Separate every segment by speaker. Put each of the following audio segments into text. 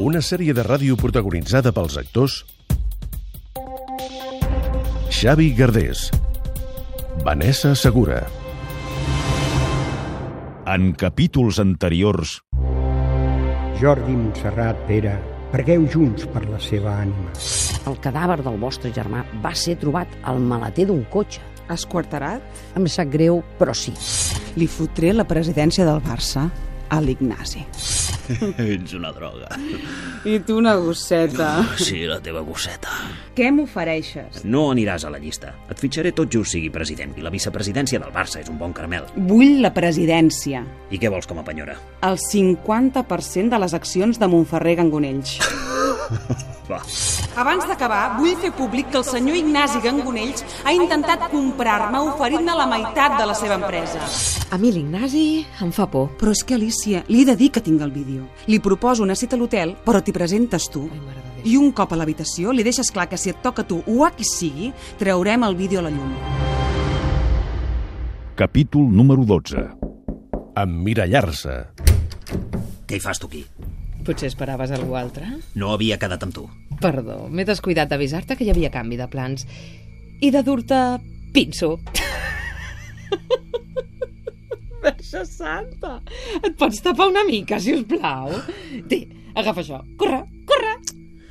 Speaker 1: Una sèrie de ràdio protagonitzada pels actors Xavi Gardés, Vanessa Segura,
Speaker 2: En capítols anteriors,
Speaker 3: Jordi Montserrat, Pere, pregueu junts per la seva ànima.
Speaker 4: El cadàver del vostre germà va ser trobat al maleter d'un cotxe.
Speaker 5: Esquarterat,
Speaker 4: Em sap greu, però sí.
Speaker 5: li fotré la presidència del Barça a l'Ignasi.
Speaker 6: Ets una droga.
Speaker 5: I tu una gosseta.
Speaker 6: Sí, la teva gosseta.
Speaker 5: Què m'ofereixes?
Speaker 6: No aniràs a la llista. Et fitxaré tot just sigui president. I la vicepresidència del Barça és un bon carmel.
Speaker 5: Vull la presidència.
Speaker 6: I què vols com a penyora?
Speaker 5: El 50% de les accions de Montferrer Gangonells.
Speaker 6: Va.
Speaker 5: Abans d'acabar, vull fer públic que el senyor Ignasi Gangonells ha intentat comprar-me oferint-me la meitat de la seva empresa.
Speaker 7: A mi l'Ignasi em fa por.
Speaker 5: Però és que, Alicia, li he de dir que tinc el vídeo. Li proposo una cita a l'hotel, però t'hi presentes tu.
Speaker 7: Ai, mare de Déu.
Speaker 5: I un cop a l'habitació li deixes clar que si et toca a tu o a qui sigui, traurem el vídeo a la llum.
Speaker 2: capítol número 12.
Speaker 1: Emmirallar-se,
Speaker 6: Què hi fas tu aquí?
Speaker 7: Potser esperaves algú altre?
Speaker 6: No havia quedat amb tu.
Speaker 7: Perdó, m'he descuidat d'avisar-te que hi havia canvi de plans. I de dur-te pinso. Verge santa! Et pots tapar una mica, si us plau? Té, agafa això. Corre, corre!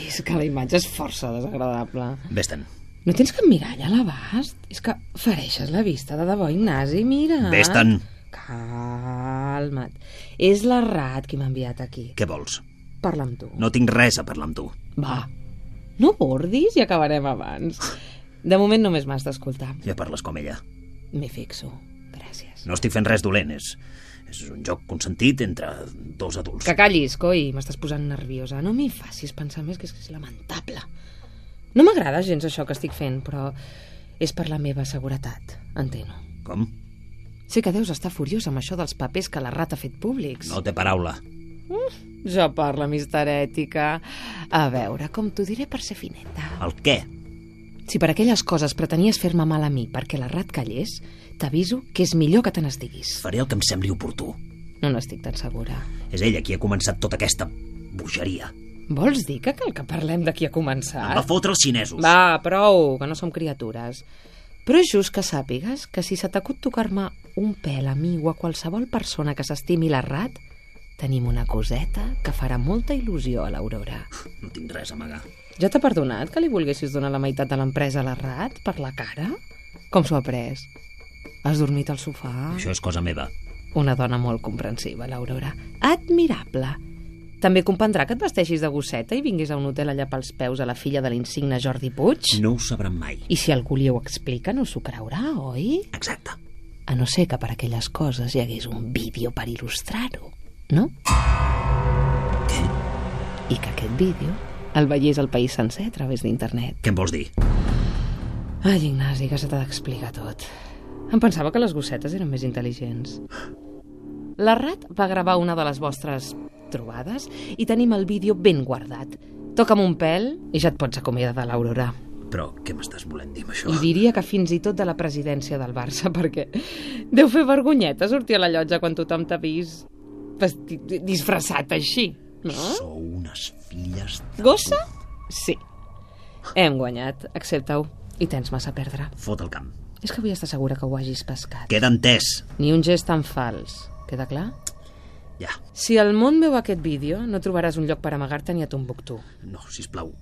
Speaker 7: És que la imatge és força desagradable.
Speaker 6: Vés-te'n.
Speaker 7: No tens cap mirall a l'abast? És que fereixes la vista de debò, Ignasi, mira.
Speaker 6: Vés-te'n.
Speaker 7: Calma't. És la Rat qui m'ha enviat aquí.
Speaker 6: Què vols?
Speaker 7: Parla amb tu.
Speaker 6: No tinc res a parlar amb tu.
Speaker 7: Va, no bordis i acabarem abans. De moment només m'has d'escoltar.
Speaker 6: Ja parles com ella.
Speaker 7: M'hi fixo. Gràcies.
Speaker 6: No estic fent res dolent. És, és un joc consentit entre dos adults.
Speaker 7: Que callis, coi, m'estàs posant nerviosa. No m'hi facis pensar més, que és, que és lamentable. No m'agrada gens això que estic fent, però és per la meva seguretat, enteno.
Speaker 6: Com?
Speaker 7: Sé que deus estar furiós amb això dels papers que la rata ha fet públics.
Speaker 6: No té paraula.
Speaker 7: Jo parla, misterètica. A veure, com t'ho diré per ser fineta.
Speaker 6: El què?
Speaker 7: Si per aquelles coses pretenies fer-me mal a mi perquè la rat callés, t'aviso que és millor que te n'estiguis.
Speaker 6: Faré el que em sembli oportú.
Speaker 7: No n'estic tan segura.
Speaker 6: És ella qui ha començat tota aquesta bogeria.
Speaker 7: Vols dir que cal que parlem de qui ha
Speaker 6: Em va
Speaker 7: començat?
Speaker 6: fotre els xinesos.
Speaker 7: Ah. Va, prou, que no som criatures. Però és just que sàpigues que si se t'acut tocar-me un pèl a mi o a qualsevol persona que s'estimi la rat, tenim una coseta que farà molta il·lusió a l'Aurora.
Speaker 6: No tinc res a amagar.
Speaker 7: Ja t'ha perdonat que li volguessis donar la meitat de l'empresa a la rat per la cara? Com s'ho ha pres? Has dormit al sofà?
Speaker 6: Això és cosa meva.
Speaker 7: Una dona molt comprensiva, l'Aurora. Admirable. També comprendrà que et vesteixis de gosseta i vinguis a un hotel allà pels peus a la filla de l'insigne Jordi Puig?
Speaker 6: No ho sabran mai.
Speaker 7: I si algú li ho explica, no s'ho creurà, oi?
Speaker 6: Exacte.
Speaker 7: A no ser que per aquelles coses hi hagués un vídeo per il·lustrar-ho, no? I que aquest vídeo el veiés al país sencer a través d'internet.
Speaker 6: Què em vols dir?
Speaker 7: Ai, Ignasi, que se t'ha d'explicar tot. Em pensava que les gossetes eren més intel·ligents. La Rat va gravar una de les vostres trobades i tenim el vídeo ben guardat. Toca'm un pèl i ja et pots acomiadar de l'Aurora.
Speaker 6: Però què m'estàs volent dir amb això?
Speaker 7: I diria que fins i tot de la presidència del Barça, perquè deu fer vergonyeta sortir a la llotja quan tothom t'ha vist vestit, disfressat així, no?
Speaker 6: Sou unes filles...
Speaker 7: Gossa? Sí. Hem guanyat, accepta-ho. I tens massa a perdre.
Speaker 6: Fot el camp.
Speaker 7: És que vull estar segura que ho hagis pescat.
Speaker 6: Queda entès.
Speaker 7: Ni un gest tan fals. Queda clar?
Speaker 6: Ja.
Speaker 7: Si el món veu aquest vídeo, no trobaràs un lloc per amagar-te ni a Tombuctú.
Speaker 6: No, si plau.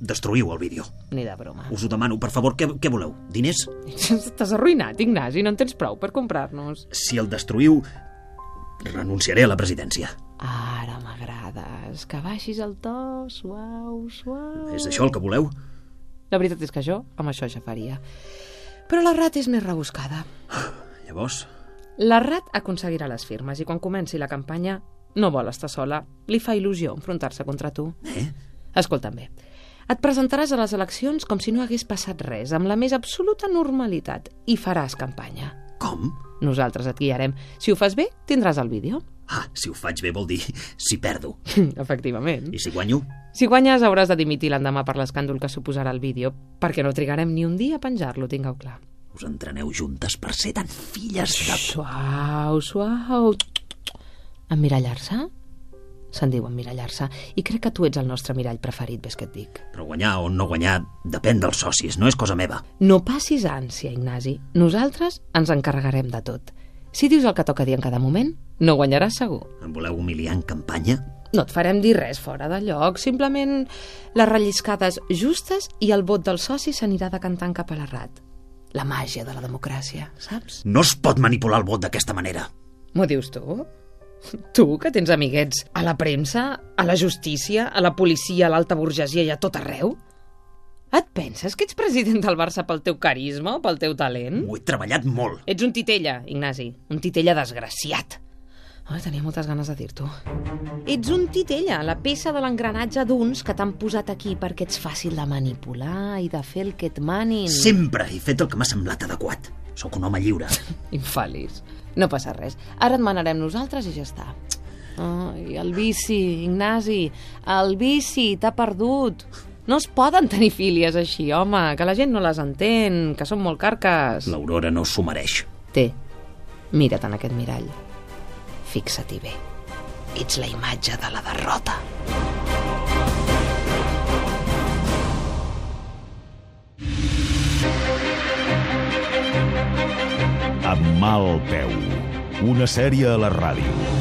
Speaker 6: Destruïu el vídeo.
Speaker 7: Ni de broma.
Speaker 6: Us ho demano, per favor, què, què voleu? Diners?
Speaker 7: T'has arruïnat, Ignasi. No en tens prou per comprar-nos.
Speaker 6: Si el destruïu, renunciaré a la presidència.
Speaker 7: Ara m'agrades. Que baixis el to, suau, suau.
Speaker 6: És això el que voleu?
Speaker 7: La veritat és que jo amb això ja faria. Però la rata és més rebuscada.
Speaker 6: Llavors,
Speaker 7: La rat aconseguirà les firmes i quan comenci la campanya No vol estar sola. Li fa il·lusió enfrontar-se contra tu. Eh? Escolta'm bé. Et presentaràs a les eleccions com si no hagués passat res, amb la més absoluta normalitat, i faràs campanya.
Speaker 6: Com?
Speaker 7: Nosaltres et guiarem. Si ho fas bé, tindràs el vídeo.
Speaker 6: Ah, si ho faig bé vol dir si perdo.
Speaker 7: Efectivament.
Speaker 6: I si guanyo?
Speaker 7: Si guanyes, hauràs de dimitir l'endemà per l'escàndol que suposarà el vídeo, perquè no trigarem ni un dia a penjar-lo, tingueu clar.
Speaker 6: Us entreneu juntes per ser tan filles de...
Speaker 7: Suau, suau. Emmirallar-se? Se'n diu emmirallar-se. I crec que tu ets el nostre mirall preferit, ves que et dic.
Speaker 6: Però guanyar o no guanyar depèn dels socis, no és cosa meva.
Speaker 7: No passis ànsia, Ignasi. Nosaltres ens encarregarem de tot. Si dius el que toca dir en cada moment, no guanyaràs segur.
Speaker 6: Em voleu humiliar en campanya?
Speaker 7: No et farem dir res fora de lloc, simplement les relliscades justes i el vot del soci s'anirà decantant cap a l'arrat. La màgia de la democràcia, saps?
Speaker 6: No es pot manipular el vot d'aquesta manera.
Speaker 7: M'ho dius tu? Tu, que tens amiguets a la premsa, a la justícia, a la policia, a l'alta burgesia i a tot arreu? Et penses que ets president del Barça pel teu carisma o pel teu talent?
Speaker 6: Ho he treballat molt.
Speaker 7: Ets un titella, Ignasi. Un titella desgraciat. Ai, tenia moltes ganes de dir-t'ho. Ets un titella, la peça de l'engranatge d'uns que t'han posat aquí perquè ets fàcil de manipular i de fer el que et manin.
Speaker 6: Sempre he fet el que m'ha semblat adequat. Sóc un home lliure.
Speaker 7: Infàl·lis. No passa res. Ara et manarem nosaltres i ja està. Ai, el vici, Ignasi. El vici, t'ha perdut. No es poden tenir fílies així, home, que la gent no les entén, que són molt carques.
Speaker 6: L'Aurora no s'ho mereix.
Speaker 7: Té, mira't en aquest mirall. Fixa-t'hi bé. Ets la imatge de la derrota.
Speaker 2: Amb mal peu. Una sèrie a la ràdio.